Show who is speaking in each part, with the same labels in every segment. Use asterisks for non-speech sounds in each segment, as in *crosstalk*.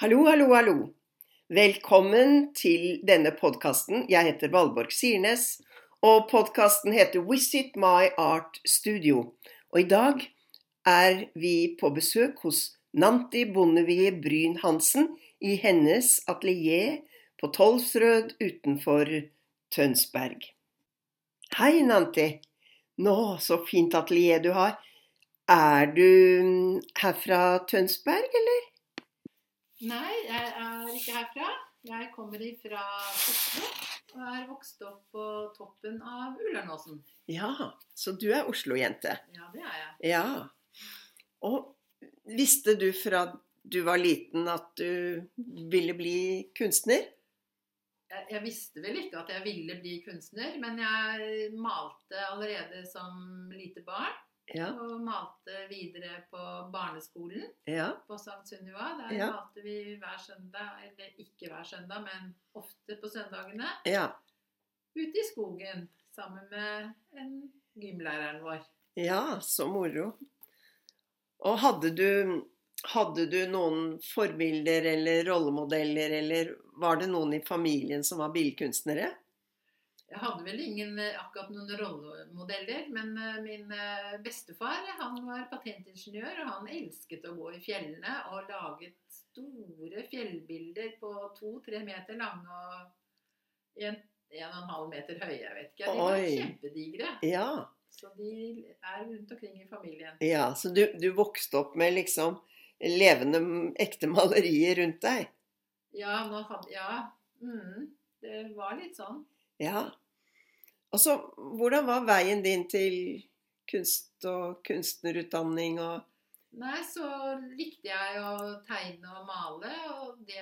Speaker 1: Hallo, hallo, hallo. Velkommen til denne podkasten. Jeg heter Valborg Sirnes, og podkasten heter Visit My Art Studio. Og i dag er vi på besøk hos Nanti Bondevie Bryn Hansen i hennes atelier på Tolvsrød utenfor Tønsberg. Hei, Nanti. Nå, så fint atelier du har. Er du mm, her fra Tønsberg, eller?
Speaker 2: Nei, jeg er ikke herfra. Jeg kommer ifra Oslo og er vokst opp på toppen av Ullarnåsen.
Speaker 1: Ja, så du er Oslo-jente.
Speaker 2: Ja, det er jeg.
Speaker 1: Ja. Og visste du fra du var liten at du ville bli kunstner?
Speaker 2: jeg. Jeg visste vel ikke at jeg ville bli kunstner, men jeg malte allerede som lite barn.
Speaker 1: Ja.
Speaker 2: Og malte videre på barneskolen
Speaker 1: Ja.
Speaker 2: på St. Sunniva. Der
Speaker 1: Ja.
Speaker 2: malte vi hver søndag, eller ikke hver søndag, men ofte på søndagene,
Speaker 1: Ja.
Speaker 2: ute i skogen sammen med en gymlæreren vår.
Speaker 1: ja så moro. Og hadde du, hadde du noen forbilder eller rollemodeller, eller var det noen i familien som var billedkunstnere?
Speaker 2: Jeg hadde vel ingen eh, akkurat noen rollemodeller, men eh, min eh, bestefar han var patentingeniør, og han elsket å gå i fjellene og laget store fjellbilder på to-tre meter lange og en, en og en halv meter høye. Jeg vet ikke, De var
Speaker 1: Oi.
Speaker 2: kjempedigre.
Speaker 1: Ja.
Speaker 2: Så de er rundt omkring i familien.
Speaker 1: ja så du, du vokste opp med liksom levende, ekte malerier rundt deg?
Speaker 2: Ja, nå hadde, ja mm, det var litt sånn.
Speaker 1: Ja. Og så, hvordan var veien din til kunst og kunstnerutdanning og
Speaker 2: Nei, så likte jeg å tegne og male, og det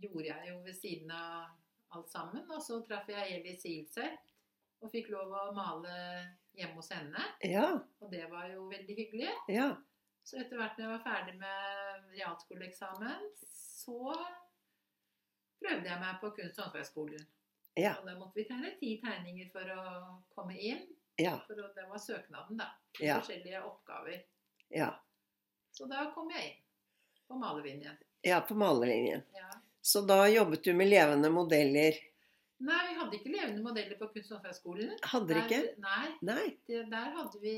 Speaker 2: gjorde jeg jo ved siden av alt sammen. Og så traff jeg Eli Silseth og fikk lov å male hjemme hos henne,
Speaker 1: Ja,
Speaker 2: og det var jo veldig hyggelig.
Speaker 1: ja.
Speaker 2: Så etter hvert når jeg var ferdig med realskoleeksamen, så prøvde jeg meg på kunst- og håndverksskolen.
Speaker 1: Ja.
Speaker 2: Og da måtte vi tegne ti tegninger for å komme inn,
Speaker 1: Ja.
Speaker 2: for å- det var søknaden, da.
Speaker 1: Ja.
Speaker 2: Forskjellige oppgaver.
Speaker 1: Ja,
Speaker 2: Så da kom jeg inn på malerlinjen.
Speaker 1: ja på malerlinjen.
Speaker 2: Ja.
Speaker 1: Så da jobbet du med levende modeller.
Speaker 2: Nei, vi hadde ikke levende modeller på kunst- og håndverksskolen.
Speaker 1: Hadde dere ikke?
Speaker 2: Der, nei,
Speaker 1: Nei.
Speaker 2: det, der hadde vi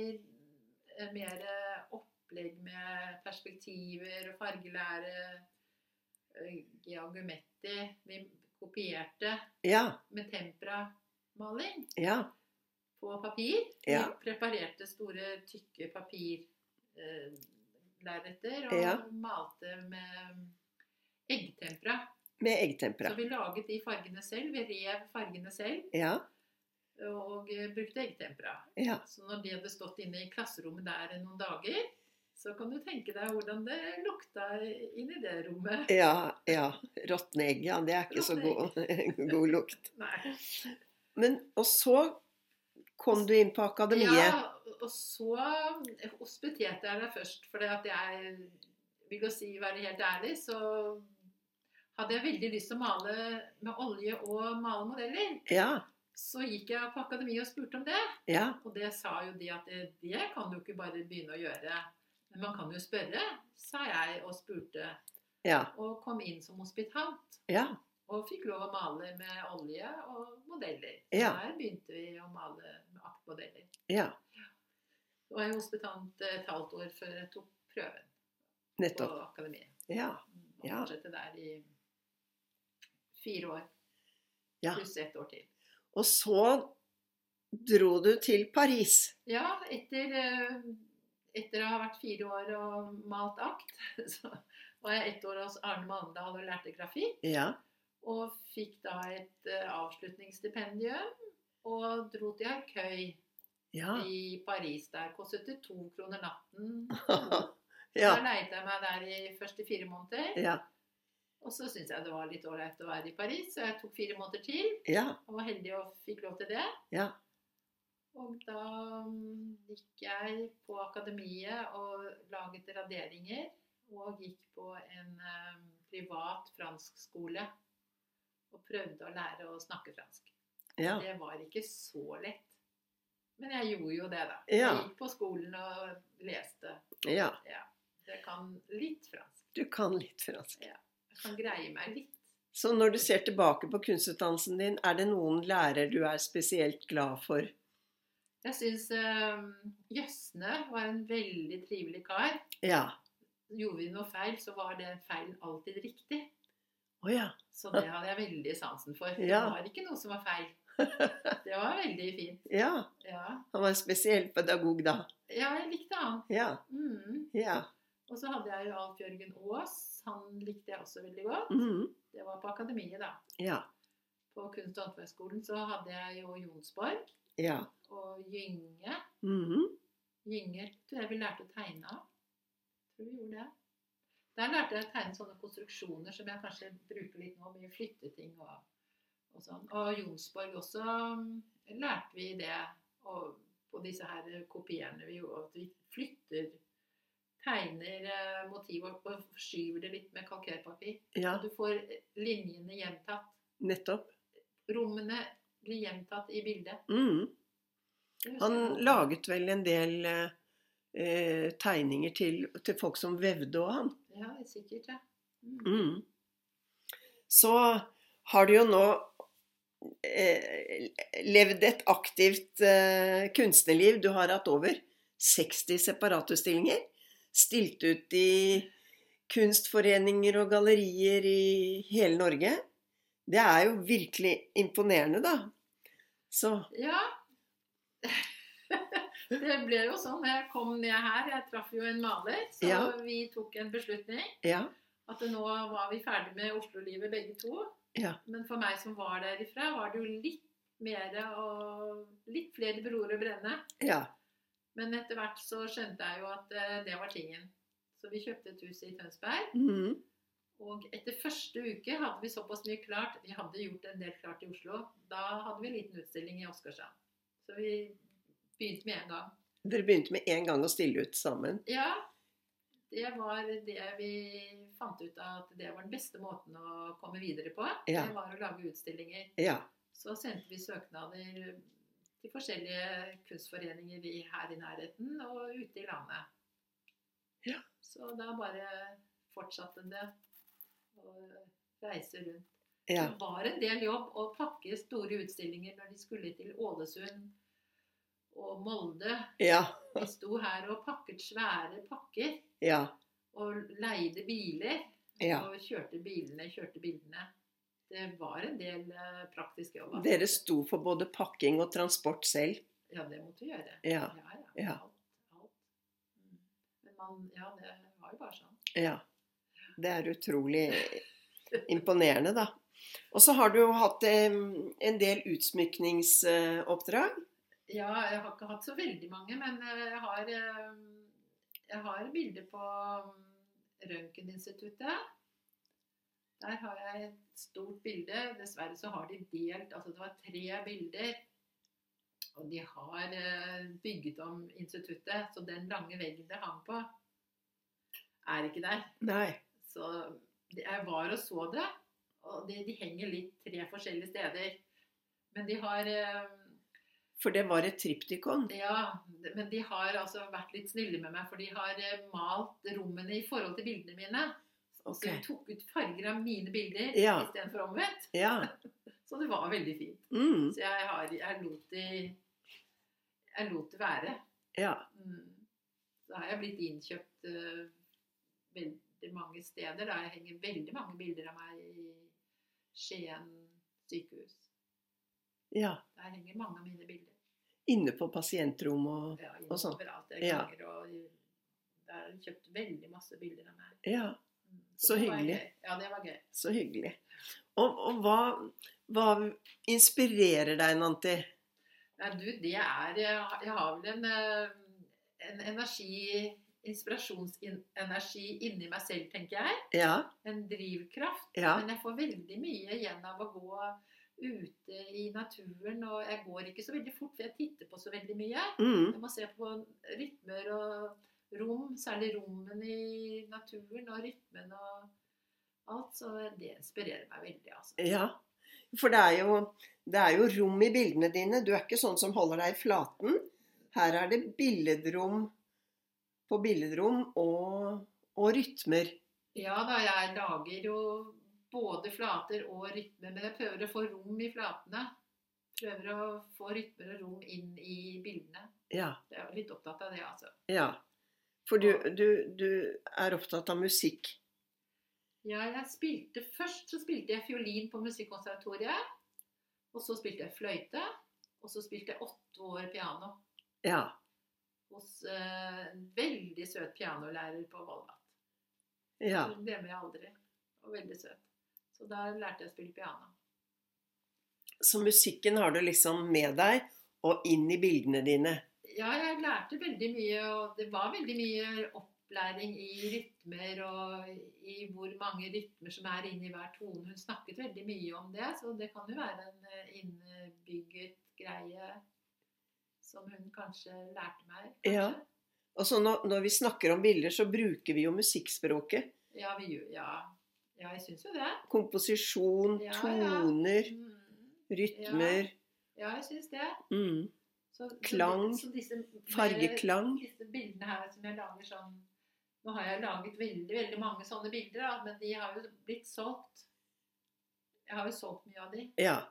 Speaker 2: eh, mer eh, opplegg med perspektiver og fargelære, eh, geogumetti. Vi kopierte
Speaker 1: Ja,
Speaker 2: med temperamaling
Speaker 1: ja,
Speaker 2: på papir.
Speaker 1: Ja.
Speaker 2: Vi preparerte store, tykke papirlerreter og
Speaker 1: Ja.
Speaker 2: malte med eggtempera.
Speaker 1: med
Speaker 2: Så
Speaker 1: eggtempera.
Speaker 2: vi laget de fargene selv. Vi rev fargene selv
Speaker 1: Ja,
Speaker 2: og eh, brukte eggtempera.
Speaker 1: ja,
Speaker 2: Så når det hadde stått inne i klasserommet der i noen dager, så kan du tenke deg hvordan det lukta inni det rommet. *laughs*
Speaker 1: ja, ja. Råtne egg, ja. Det er ikke så god, god *laughs* lukt.
Speaker 2: Nei.
Speaker 1: Men, og så kom du inn på akademiet.
Speaker 2: Ja, og så hospiterte jeg deg først, for jeg vil jo si, være helt ærlig, så hadde jeg veldig lyst til å male med olje og male modeller.
Speaker 1: Ja,
Speaker 2: Så gikk jeg på akademiet og spurte om det.
Speaker 1: ja,
Speaker 2: Og det sa jo de at det, det kan du ikke bare begynne å gjøre. Men man kan jo spørre, sa jeg og spurte.
Speaker 1: ja,
Speaker 2: Og kom inn som hospitant.
Speaker 1: ja.
Speaker 2: Og fikk lov å male med olje og modeller.
Speaker 1: Ja.
Speaker 2: Der begynte vi å male med aktmodeller.
Speaker 1: ja.
Speaker 2: Og jeg var hospitant et halvt år før jeg tok prøven på
Speaker 1: Nettopp.
Speaker 2: akademiet.
Speaker 1: Ja.
Speaker 2: Og
Speaker 1: Ja.
Speaker 2: fortsette der i fire år.
Speaker 1: Ja.
Speaker 2: Pluss ett år til.
Speaker 1: Og så dro du til Paris.
Speaker 2: Ja, etter, eh, etter å ha vært fire år og malt akt, *laughs* så var jeg ett år hos Arne Mandal og lærte grafikk.
Speaker 1: Ja.
Speaker 2: Og fikk da et eh, avslutningsstipendium og dro til Arcueil
Speaker 1: Ja.
Speaker 2: i Paris. Der kostet det to kroner natten. Da
Speaker 1: ja.
Speaker 2: leide jeg meg der i første fire måneder.
Speaker 1: ja.
Speaker 2: Og så syntes jeg det var litt ålreit å være i Paris, så jeg tok fire måneder til.
Speaker 1: Ja.
Speaker 2: Og var heldig og fikk lov til det.
Speaker 1: Ja.
Speaker 2: Og da mm, gikk jeg på akademiet og laget raderinger. Og gikk på en eh, privat franskskole og prøvde å lære å snakke fransk.
Speaker 1: Ja.
Speaker 2: Det var ikke så lett. Men jeg gjorde jo det, da.
Speaker 1: Ja.
Speaker 2: Jeg gikk på skolen og leste.
Speaker 1: ja.
Speaker 2: Jeg kan litt fransk.
Speaker 1: Du kan litt fransk.
Speaker 2: Ja. kan greie meg litt.
Speaker 1: Så når du ser tilbake på kunstutdannelsen din, er det noen lærer du er spesielt glad for?
Speaker 2: Jeg syns Jøsne var en veldig trivelig kar.
Speaker 1: Ja.
Speaker 2: Gjorde vi noe feil, så var den feilen alltid riktig.
Speaker 1: Å ja.
Speaker 2: Så det hadde jeg veldig sansen for. Det
Speaker 1: Ja.
Speaker 2: var ikke noe som var feil. Det var veldig fint.
Speaker 1: Ja.
Speaker 2: Ja,
Speaker 1: Han var en spesiell pedagog da.
Speaker 2: ja jeg likte han.
Speaker 1: Ja.
Speaker 2: Mm.
Speaker 1: Ja.
Speaker 2: Og så hadde jeg jo Alf Jørgen Aas. Han likte jeg også veldig godt.
Speaker 1: Mhm.
Speaker 2: Det var på akademiet, da.
Speaker 1: ja.
Speaker 2: På Kunst- og håndverksskolen så hadde jeg jo Jonsborg
Speaker 1: Ja.
Speaker 2: og Gynge.
Speaker 1: Mhm.
Speaker 2: Gynge tror jeg vi lærte å tegne av. Tror vi gjorde det. Der lærte jeg å tegne sånne konstruksjoner som jeg kanskje bruker litt nå, mye flytteting og, og sånn. Og Jonsborg også mm, lærte vi det og på disse her kopiene vi gjorde, at vi flytter, tegner eh, motivet og forskyver det litt med kalkerpapir.
Speaker 1: ja.
Speaker 2: At du får linjene gjentatt.
Speaker 1: Nettopp.
Speaker 2: Rommene blir gjentatt i bildet.
Speaker 1: Mhm.
Speaker 2: Det husker
Speaker 1: Han
Speaker 2: jeg.
Speaker 1: laget vel en del eh, eh, tegninger til, til folk som vevde og han.
Speaker 2: Ja, sikkert, ja. Mm.
Speaker 1: Mm. Så har du jo nå eh, levd et aktivt eh, kunstnerliv. Du har hatt over 60 separatutstillinger. Stilt ut i kunstforeninger og gallerier i hele Norge. Det er jo virkelig imponerende, da. Så
Speaker 2: Ja. *laughs* Det ble jo sånn. Jeg kom ned her. Jeg traff jo en maler, så
Speaker 1: Ja.
Speaker 2: vi tok en beslutning.
Speaker 1: ja.
Speaker 2: At nå var vi ferdig med Oslo-livet begge to.
Speaker 1: Ja.
Speaker 2: Men for meg som var derifra, var det jo litt mer og litt flere broer å brenne.
Speaker 1: Ja.
Speaker 2: Men etter hvert så skjønte jeg jo at eh, det var tingen. Så vi kjøpte et hus i Tønsberg.
Speaker 1: Mm.
Speaker 2: Og etter første uke hadde vi såpass mye klart. Vi hadde gjort en del klart i Oslo. Da hadde vi en liten utstilling i Åsgårdstrand. Så vi begynte med en gang.
Speaker 1: Dere begynte med en gang å stille ut sammen.
Speaker 2: Ja, det var det vi fant ut av at det var den beste måten å komme videre på.
Speaker 1: Ja.
Speaker 2: Det var å lage utstillinger.
Speaker 1: Ja.
Speaker 2: Så sendte vi søknader til forskjellige kunstforeninger i, her i nærheten og ute i landet.
Speaker 1: Ja.
Speaker 2: Så da bare fortsatte det å reise rundt.
Speaker 1: ja.
Speaker 2: Det var en del jobb å pakke store utstillinger når de skulle til Ålesund og Molde.
Speaker 1: Ja.
Speaker 2: Vi sto her og pakket svære pakker
Speaker 1: Ja.
Speaker 2: og leide biler.
Speaker 1: ja.
Speaker 2: Og kjørte bilene, kjørte bildene. Det var en del eh, praktisk jobb. altså.
Speaker 1: Dere sto for både pakking og transport selv.
Speaker 2: Ja, det måtte vi gjøre.
Speaker 1: Ja,
Speaker 2: ja.
Speaker 1: ja.
Speaker 2: Alt, alt. Mm. Men man, ja, det var jo bare sånn.
Speaker 1: Ja. Det er utrolig imponerende, da. Og så har du jo hatt eh, en del utsmykningsoppdrag.
Speaker 2: Ja, jeg har ikke hatt så veldig mange, men eh, jeg har, eh, jeg har bilder på mm, Røntgeninstituttet. Der har jeg et stort bilde. Dessverre så har de delt Altså det var tre bilder. Og de har eh, bygget om instituttet, så den lange veggen det hang på, er ikke der.
Speaker 1: Nei.
Speaker 2: Så det- jeg var og så det, og de, de henger litt tre forskjellige steder. Men de har eh,
Speaker 1: For det var et triptykon.
Speaker 2: Ja, det- men de har altså vært litt snille med meg, for de har eh, malt rommene i forhold til bildene mine. Så de
Speaker 1: Ok.
Speaker 2: tok ut farger av mine bilder
Speaker 1: Ja.
Speaker 2: istedenfor omvendt.
Speaker 1: Ja.
Speaker 2: Så det var veldig fint.
Speaker 1: Mm.
Speaker 2: Så jeg, har, jeg, lot, de, jeg lot det være.
Speaker 1: Ja.
Speaker 2: Mm. Så har jeg blitt innkjøpt eh, veldig mange steder. Da jeg henger veldig mange bilder av meg i Skien sykehus.
Speaker 1: ja.
Speaker 2: Der henger mange av mine bilder.
Speaker 1: Inne på pasientrom og
Speaker 2: Ja,
Speaker 1: Og sånn.
Speaker 2: overalt. Jeg
Speaker 1: Ja.
Speaker 2: ganger, og der har jeg kjøpt veldig masse bilder av meg.
Speaker 1: Ja,
Speaker 2: Mm.
Speaker 1: Så
Speaker 2: det var
Speaker 1: hyggelig.
Speaker 2: gøy. Ja, det var gøy.
Speaker 1: så hyggelig. Og, og hva, hva inspirerer deg, Nanti?
Speaker 2: Nei, du, det er Jeg har jeg har vel en, eh, en energi Inspirasjonsenergi inni meg selv, tenker jeg.
Speaker 1: Ja.
Speaker 2: En drivkraft.
Speaker 1: Ja.
Speaker 2: Men jeg får veldig mye igjen av å gå ute i naturen. Og jeg går ikke så veldig fort, for jeg titter på så veldig mye.
Speaker 1: Mm.
Speaker 2: Jeg må se på rytmer og rom, særlig rommene i naturen og rytmen og alt. Så det inspirerer meg veldig, altså.
Speaker 1: Ja. For det er, jo, det er jo rom i bildene dine. Du er ikke sånn som holder deg i flaten. Her er det billedrom på billedrom og, og rytmer.
Speaker 2: Ja da, jeg lager jo både flater og rytmer, men jeg prøver å få rom i flatene. Prøver å få rytmer og rom inn i bildene.
Speaker 1: Ja.
Speaker 2: Jeg er litt opptatt av det, altså.
Speaker 1: ja. For du, du, du er opptatt av musikk.
Speaker 2: Ja, jeg spilte Først så spilte jeg fiolin på Musikkonservatoriet. Og så spilte jeg fløyte. Og så spilte jeg åtte år piano
Speaker 1: Ja.
Speaker 2: hos eh, en veldig søt pianolærer på Volvat.
Speaker 1: ja.
Speaker 2: Hun glemmer jeg aldri. Og veldig søt. Så der lærte jeg å spille piano.
Speaker 1: Så musikken har du liksom med deg og inn i bildene dine.
Speaker 2: Ja, jeg lærte veldig mye, og det var veldig mye opplæring i rytmer og i hvor mange rytmer som er inni hver tone. Hun snakket veldig mye om det, så det kan jo være en eh, innebygget greie som hun kanskje lærte meg. Kanskje.
Speaker 1: Ja. Og så når, når vi snakker om bilder, så bruker vi jo musikkspråket.
Speaker 2: Ja, vi, gjør- ja. ja jeg syns jo det.
Speaker 1: Komposisjon,
Speaker 2: Ja, ja.
Speaker 1: toner,
Speaker 2: Mm.
Speaker 1: rytmer,
Speaker 2: Ja, jeg syns det.
Speaker 1: mm,
Speaker 2: Så, så-
Speaker 1: Klang,
Speaker 2: så disse-
Speaker 1: fargeklang.
Speaker 2: disse bildene her som jeg lager sånn Nå har jeg laget veldig veldig mange sånne bilder, da, men de har jo blitt solgt. Jeg har jo solgt mye av de.
Speaker 1: Ja.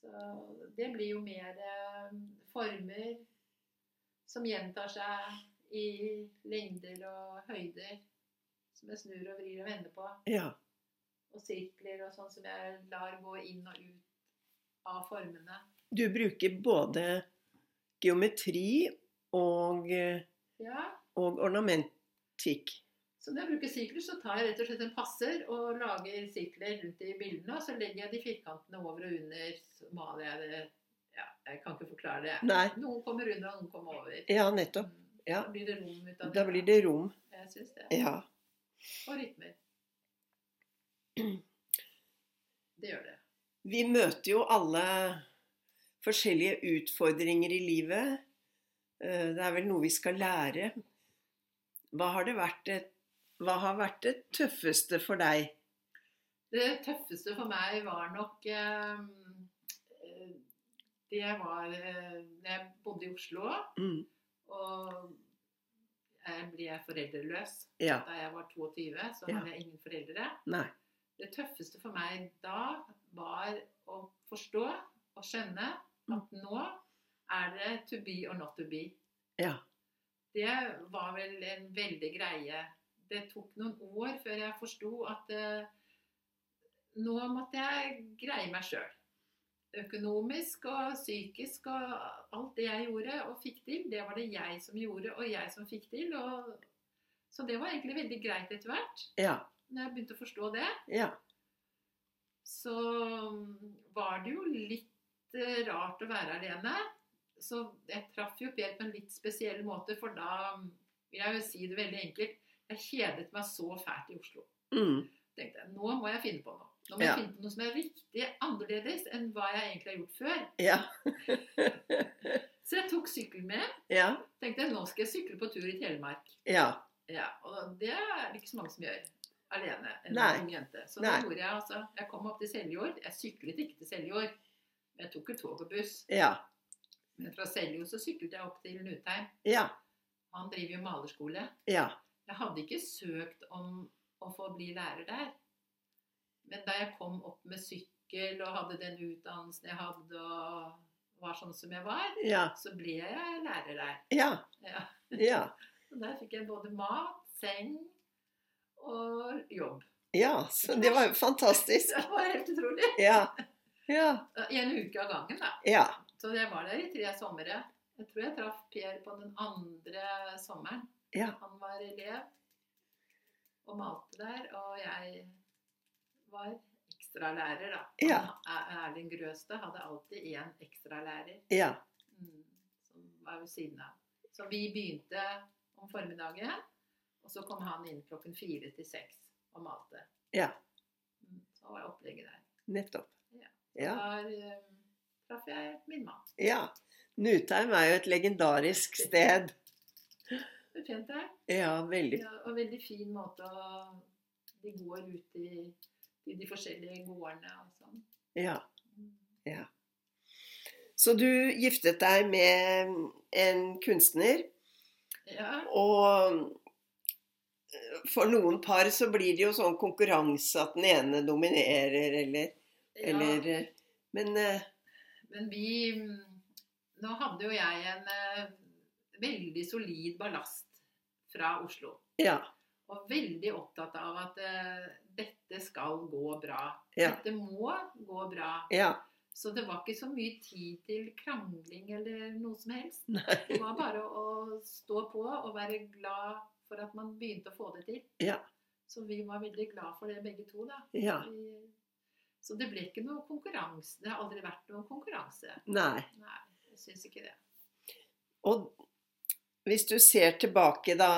Speaker 2: Så det blir jo mer eh, former som gjentar seg i lengder og høyder. Som jeg snur og vrir og vender på.
Speaker 1: ja.
Speaker 2: Og sirkler og sånn som jeg lar gå inn og ut av formene.
Speaker 1: Du bruker både geometri og, eh,
Speaker 2: Ja,
Speaker 1: og ornamentikk.
Speaker 2: Så når jeg bruker sirkler, så tar jeg rett og slett en passer og lager sirkler rundt i bildene. Og så legger jeg de firkantene over og under. Så maler jeg det ja, Jeg kan ikke forklare det.
Speaker 1: Nei.
Speaker 2: Noen kommer under, og noen kommer over.
Speaker 1: Ja, nettopp.
Speaker 2: Mm.
Speaker 1: Ja.
Speaker 2: Da blir det rom ut av det.
Speaker 1: Da blir det rom.
Speaker 2: Jeg syns det.
Speaker 1: Ja.
Speaker 2: Og rytmer. Det gjør det.
Speaker 1: Vi møter jo alle forskjellige utfordringer i livet. Eh, Det er vel noe vi skal lære. Hva har, det vært det, hva har vært det tøffeste for deg?
Speaker 2: Det tøffeste for meg var nok eh, eh, Det var eh, da jeg bodde i Oslo,
Speaker 1: Mm,
Speaker 2: og jeg ble foreldreløs.
Speaker 1: ja.
Speaker 2: da jeg var 22, så
Speaker 1: Ja.
Speaker 2: hadde jeg ingen foreldre.
Speaker 1: Nei.
Speaker 2: Det tøffeste for meg da var å forstå og skjønne at nå er det to be or not to be.
Speaker 1: Ja.
Speaker 2: Det var vel en veldig greie. Det tok noen år før jeg forsto at eh, nå måtte jeg greie meg sjøl. Økonomisk og psykisk og alt det jeg gjorde og fikk til, det var det jeg som gjorde og jeg som fikk til. Og... Så det var egentlig veldig greit etter hvert,
Speaker 1: Ja.
Speaker 2: når jeg begynte å forstå det
Speaker 1: Ja.
Speaker 2: så um, var det jo litt eh, rart å være alene. Så jeg traff jo Per på en litt spesiell måte, for da mm, vil jeg jo si det veldig enkelt Jeg kjedet meg så fælt i Oslo.
Speaker 1: Mm,
Speaker 2: Tenkte jeg, Nå må jeg finne på noe. Nå må jeg
Speaker 1: Ja.
Speaker 2: finne på noe som er riktig annerledes enn hva jeg egentlig har gjort før.
Speaker 1: ja.
Speaker 2: Så jeg tok sykkelen med.
Speaker 1: Ja.
Speaker 2: Tenkte jeg, nå skal jeg sykle på tur i Telemark.
Speaker 1: Ja.
Speaker 2: Ja, og det er det ikke så mange som gjør alene. En
Speaker 1: Nei.
Speaker 2: ung jente. Så
Speaker 1: Nei.
Speaker 2: det gjorde jeg altså. Jeg kom opp til Seljord. Jeg syklet ikke til Seljord. Jeg tok et tog og buss.
Speaker 1: Ja.
Speaker 2: Men fra Seljord så syklet jeg opp til Nutheim.
Speaker 1: Ja.
Speaker 2: Han driver jo malerskole.
Speaker 1: Ja.
Speaker 2: Jeg hadde ikke søkt om å få bli lærer der. Men da jeg kom opp med sykkel og hadde den utdannelsen jeg hadde, og var sånn som jeg var,
Speaker 1: Ja.
Speaker 2: så ble jeg lærer der.
Speaker 1: Ja.
Speaker 2: Ja.
Speaker 1: Ja.
Speaker 2: Og der fikk jeg både mat, seng og jobb.
Speaker 1: ja. Så det var jo fantastisk.
Speaker 2: *laughs* Det var helt utrolig.
Speaker 1: Ja. Ja.
Speaker 2: I en uke av gangen, da.
Speaker 1: Ja.
Speaker 2: Så jeg var der i tre somre. Jeg tror jeg traff Per på den andre sommeren.
Speaker 1: Ja.
Speaker 2: Han var elev og malte der, og jeg var ekstralærer, da.
Speaker 1: Ja.
Speaker 2: Han, Er- Erling Grøstad hadde alltid én ekstralærer
Speaker 1: Ja.
Speaker 2: mm, som var ved siden av. Så vi begynte om formiddagen, og så kom han inn klokken fire til seks og malte.
Speaker 1: Ja.
Speaker 2: Mm, Så var opplegget der.
Speaker 1: Nettopp.
Speaker 2: Ja.
Speaker 1: Ja.
Speaker 2: Der eh, traff jeg min mann.
Speaker 1: Ja. Nutheim er jo et legendarisk sted.
Speaker 2: Det kjente jeg.
Speaker 1: Ja, veldig.
Speaker 2: Ja, og veldig fin måte å De går ut i, i de forskjellige gårdene og sånn.
Speaker 1: Ja.
Speaker 2: Mm.
Speaker 1: Så du giftet deg med en kunstner,
Speaker 2: Ja.
Speaker 1: og eh, for noen par så blir det jo sånn konkurranse at den ene dominerer, eller, eller eh, Men eh,
Speaker 2: Men vi Nå hadde jo jeg en eh, veldig solid ballast fra Oslo.
Speaker 1: ja.
Speaker 2: Og veldig opptatt av at eh, dette skal gå bra.
Speaker 1: Ja.
Speaker 2: Dette må gå bra.
Speaker 1: Ja.
Speaker 2: Så det var ikke så mye tid til krangling eller noe som helst. Det var bare å stå på og være glad for at man begynte å få det til.
Speaker 1: Ja.
Speaker 2: Så vi var veldig glad for det begge to, da.
Speaker 1: Ja.
Speaker 2: Vi- Så det ble ikke noe konkurranse. Det har aldri vært noen konkurranse.
Speaker 1: Nei.
Speaker 2: Nei, jeg syns ikke det.
Speaker 1: Og hvis du ser tilbake da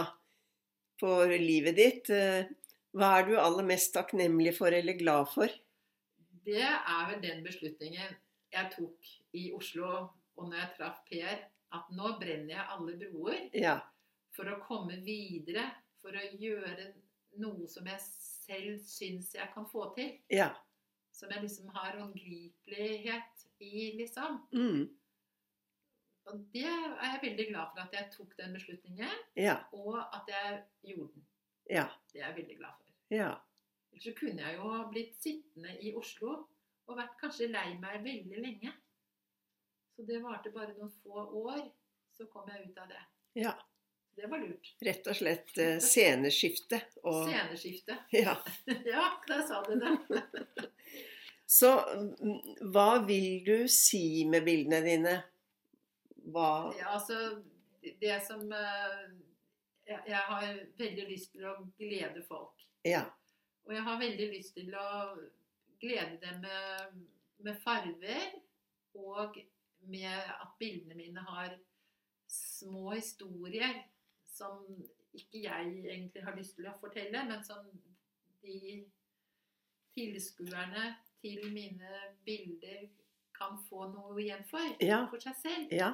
Speaker 1: på livet ditt, eh, hva er du aller mest takknemlig for eller glad for?
Speaker 2: Det er vel den beslutningen jeg tok i Oslo og når jeg traff Per, at nå brenner jeg alle broer
Speaker 1: Ja.
Speaker 2: for å komme videre, for å gjøre noe som jeg selv syns jeg kan få til.
Speaker 1: Ja.
Speaker 2: Som jeg liksom har håndgripelighet i, liksom.
Speaker 1: Mm.
Speaker 2: Og det er jeg veldig glad for at jeg tok den beslutningen,
Speaker 1: Ja.
Speaker 2: og at jeg gjorde den.
Speaker 1: Ja.
Speaker 2: Det er jeg veldig glad for.
Speaker 1: Ja.
Speaker 2: Ellers så kunne jeg jo ha blitt sittende i Oslo og vært kanskje lei meg veldig lenge. Så det varte bare noen få år, så kom jeg ut av det.
Speaker 1: Ja.
Speaker 2: Det var lurt.
Speaker 1: Rett og slett eh, sceneskifte. Og,
Speaker 2: Sceneskifte.
Speaker 1: ja.
Speaker 2: ja, der sa du det.
Speaker 1: Så mm, hva vil du si med bildene dine? Hva
Speaker 2: Ja, altså, det som eh, jeg, jeg har veldig lyst til å glede folk.
Speaker 1: Ja.
Speaker 2: Og jeg har veldig lyst til å glede dem med, med farver, og med at bildene mine har små historier som ikke jeg egentlig har lyst til å fortelle, men som de tilskuerne til mine bilder kan få noe igjen for,
Speaker 1: Ja.
Speaker 2: for seg selv.
Speaker 1: Ja.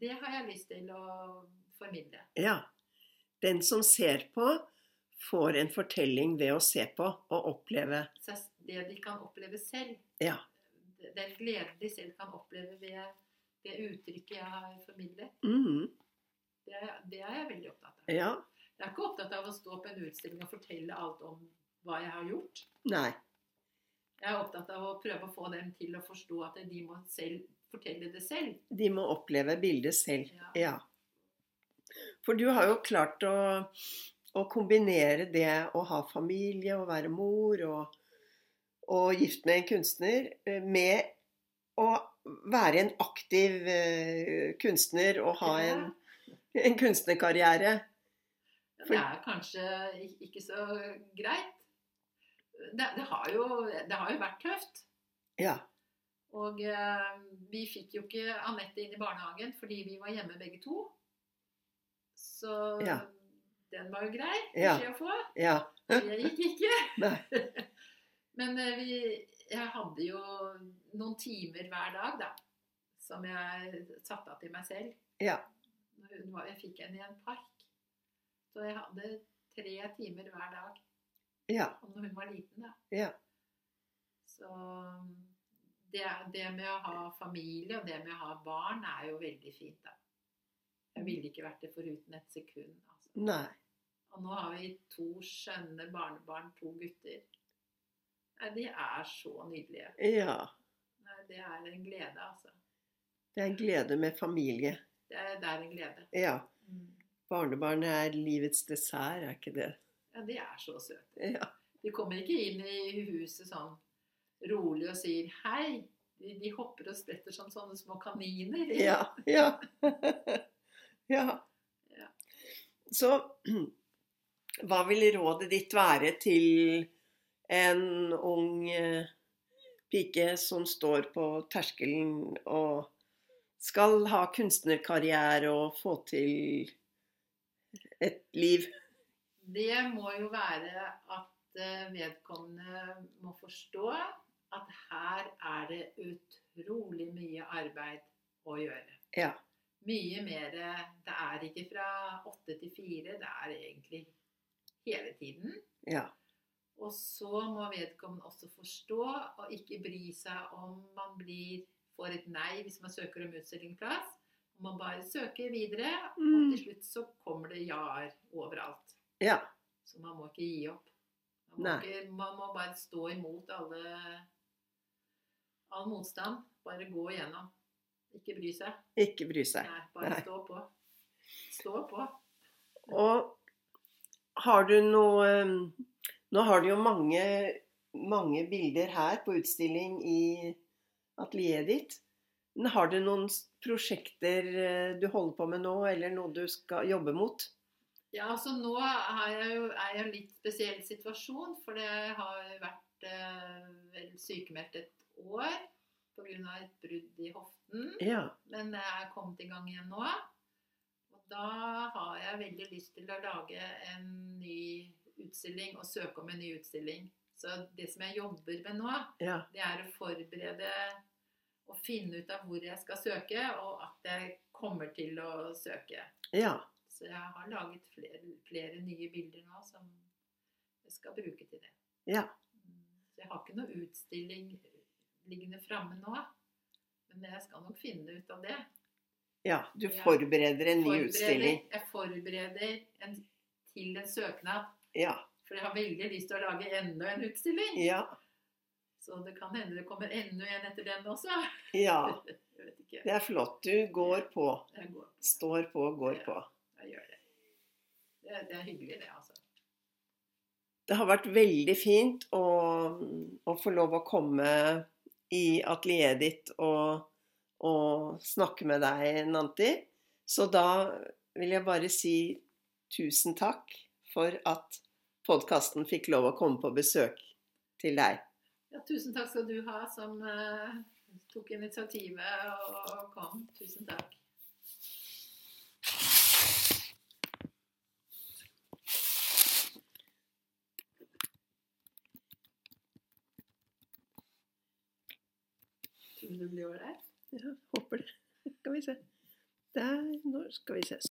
Speaker 2: Det har jeg lyst til å formidle.
Speaker 1: ja. Den som ser på, får en fortelling ved å se på og oppleve.
Speaker 2: seg- det de kan oppleve selv.
Speaker 1: Ja.
Speaker 2: Den gleden de selv kan oppleve ved det uttrykket jeg har formidlet.
Speaker 1: Mm.
Speaker 2: Det er, det er jeg veldig opptatt av.
Speaker 1: Ja.
Speaker 2: Jeg er ikke opptatt av å stå på en utstilling og fortelle alt om hva jeg har gjort.
Speaker 1: Nei.
Speaker 2: Jeg er opptatt av å prøve å få dem til å forstå at de må selv fortelle det selv.
Speaker 1: De må oppleve bildet selv.
Speaker 2: Ja.
Speaker 1: Ja. For du har jo klart å, å kombinere det å ha familie og være mor og, og gift med en kunstner, eh, med å være en aktiv eh, kunstner og ha en, en kunstnerkarriere.
Speaker 2: Det er kanskje ikke så greit. Det, det, har, jo, det har jo vært tøft.
Speaker 1: Ja.
Speaker 2: Og eh, vi fikk jo ikke Anette inn i barnehagen fordi vi var hjemme begge to. Så
Speaker 1: Ja.
Speaker 2: den var jo grei
Speaker 1: Ja.
Speaker 2: beskjed å få.
Speaker 1: Ja.
Speaker 2: Det gikk ikke.
Speaker 1: *laughs* Nei.
Speaker 2: *laughs* Men eh, vi, jeg hadde jo noen timer hver dag, da. Som jeg satte av til meg selv.
Speaker 1: Ja.
Speaker 2: Når Hun var, jeg fikk henne i en park. Så jeg hadde tre timer hver dag.
Speaker 1: Ja.
Speaker 2: Og når hun var liten, da.
Speaker 1: Ja.
Speaker 2: Så um, det, det med å ha familie og det med å ha barn er jo veldig fint, da.
Speaker 1: Mm.
Speaker 2: Jeg ville ikke vært det foruten et sekund. Altså.
Speaker 1: Nei.
Speaker 2: Og nå har vi to skjønne barnebarn, to gutter. Nei, de er så nydelige.
Speaker 1: Ja.
Speaker 2: Nei, det er en glede, altså.
Speaker 1: Det er en glede med familie.
Speaker 2: Det er, det er en glede.
Speaker 1: Ja. Mm. Barnebarn er livets dessert, er ikke det?
Speaker 2: Ja, de er så søte.
Speaker 1: Ja.
Speaker 2: De kommer ikke inn i huset sånn rolig og sier hei. De, de hopper og spretter som sånne små kaniner.
Speaker 1: Ja. Ja. *laughs* ja.
Speaker 2: Ja.
Speaker 1: Så *clears throat* hva vil rådet ditt være til en ung eh, pike som står på terskelen og skal ha kunstnerkarriere og få til et liv?
Speaker 2: Det må jo være at eh, vedkommende må forstå at her er det utrolig mye arbeid å gjøre.
Speaker 1: Ja.
Speaker 2: Mye mer eh, Det er ikke fra åtte til fire, det er egentlig hele tiden.
Speaker 1: Ja.
Speaker 2: Og så må vedkommende også forstå og ikke bry seg om man blir, får et nei hvis man søker om utstillingsplass. Man bare søker videre, og
Speaker 1: Mm.
Speaker 2: til slutt så kommer det ja-er overalt.
Speaker 1: Ja.
Speaker 2: Så man må ikke gi opp. Man må,
Speaker 1: Nei.
Speaker 2: ikke, man må bare stå imot alle all motstand. Bare gå igjennom. Ikke bry seg.
Speaker 1: Ikke bry seg.
Speaker 2: Nei, bare
Speaker 1: Nei.
Speaker 2: stå på. Stå på.
Speaker 1: Og har du noe um, Nå har du jo mange, mange bilder her på utstilling i atelieret ditt. Men har du noen s- prosjekter eh, du holder på med nå, eller noe du skal jobbe mot?
Speaker 2: Ja, altså nå er jeg jo er jeg i en litt spesiell situasjon, for jeg har vært eh, vel sykemeldt et år pga. et brudd i hoften.
Speaker 1: Ja.
Speaker 2: Men jeg er kommet i gang igjen nå. Og da har jeg veldig lyst til å lage en ny utstilling og søke om en ny utstilling. Så det som jeg jobber med nå,
Speaker 1: ja.
Speaker 2: det er å forberede og finne ut av hvor jeg skal søke, og at jeg kommer til å søke.
Speaker 1: Ja.
Speaker 2: Så jeg har laget flere, flere nye bilder nå som jeg skal bruke til det.
Speaker 1: Ja.
Speaker 2: Mm. Så jeg har ikke noe utstilling liggende framme nå. Men jeg skal nok finne ut av det.
Speaker 1: ja. Du
Speaker 2: Ja.
Speaker 1: forbereder en ny
Speaker 2: Forbereder-
Speaker 1: utstilling.
Speaker 2: Jeg forbereder en, til en søknad.
Speaker 1: Ja.
Speaker 2: For jeg har veldig lyst til å lage enda en utstilling.
Speaker 1: Ja.
Speaker 2: Så det kan hende det kommer enda en etter den også.
Speaker 1: ja.
Speaker 2: *laughs* Jeg vet ikke.
Speaker 1: Det er flott. Du går på.
Speaker 2: Jeg går.
Speaker 1: Står på, går på.
Speaker 2: Jeg gjør det. Det, det er hyggelig, det, altså.
Speaker 1: Det har vært veldig fint å, å få lov å komme i atelieret ditt og, og snakke med deg, Nanti. Så da vil jeg bare si tusen takk for at podkasten fikk lov å komme på besøk til deg.
Speaker 2: Ja, tusen takk skal du ha som eh, tok initiativet og, og kom. Tusen takk. Tror du du blir ålreit?
Speaker 1: Ja, håper det. Skal vi se. Der, nå skal vi se.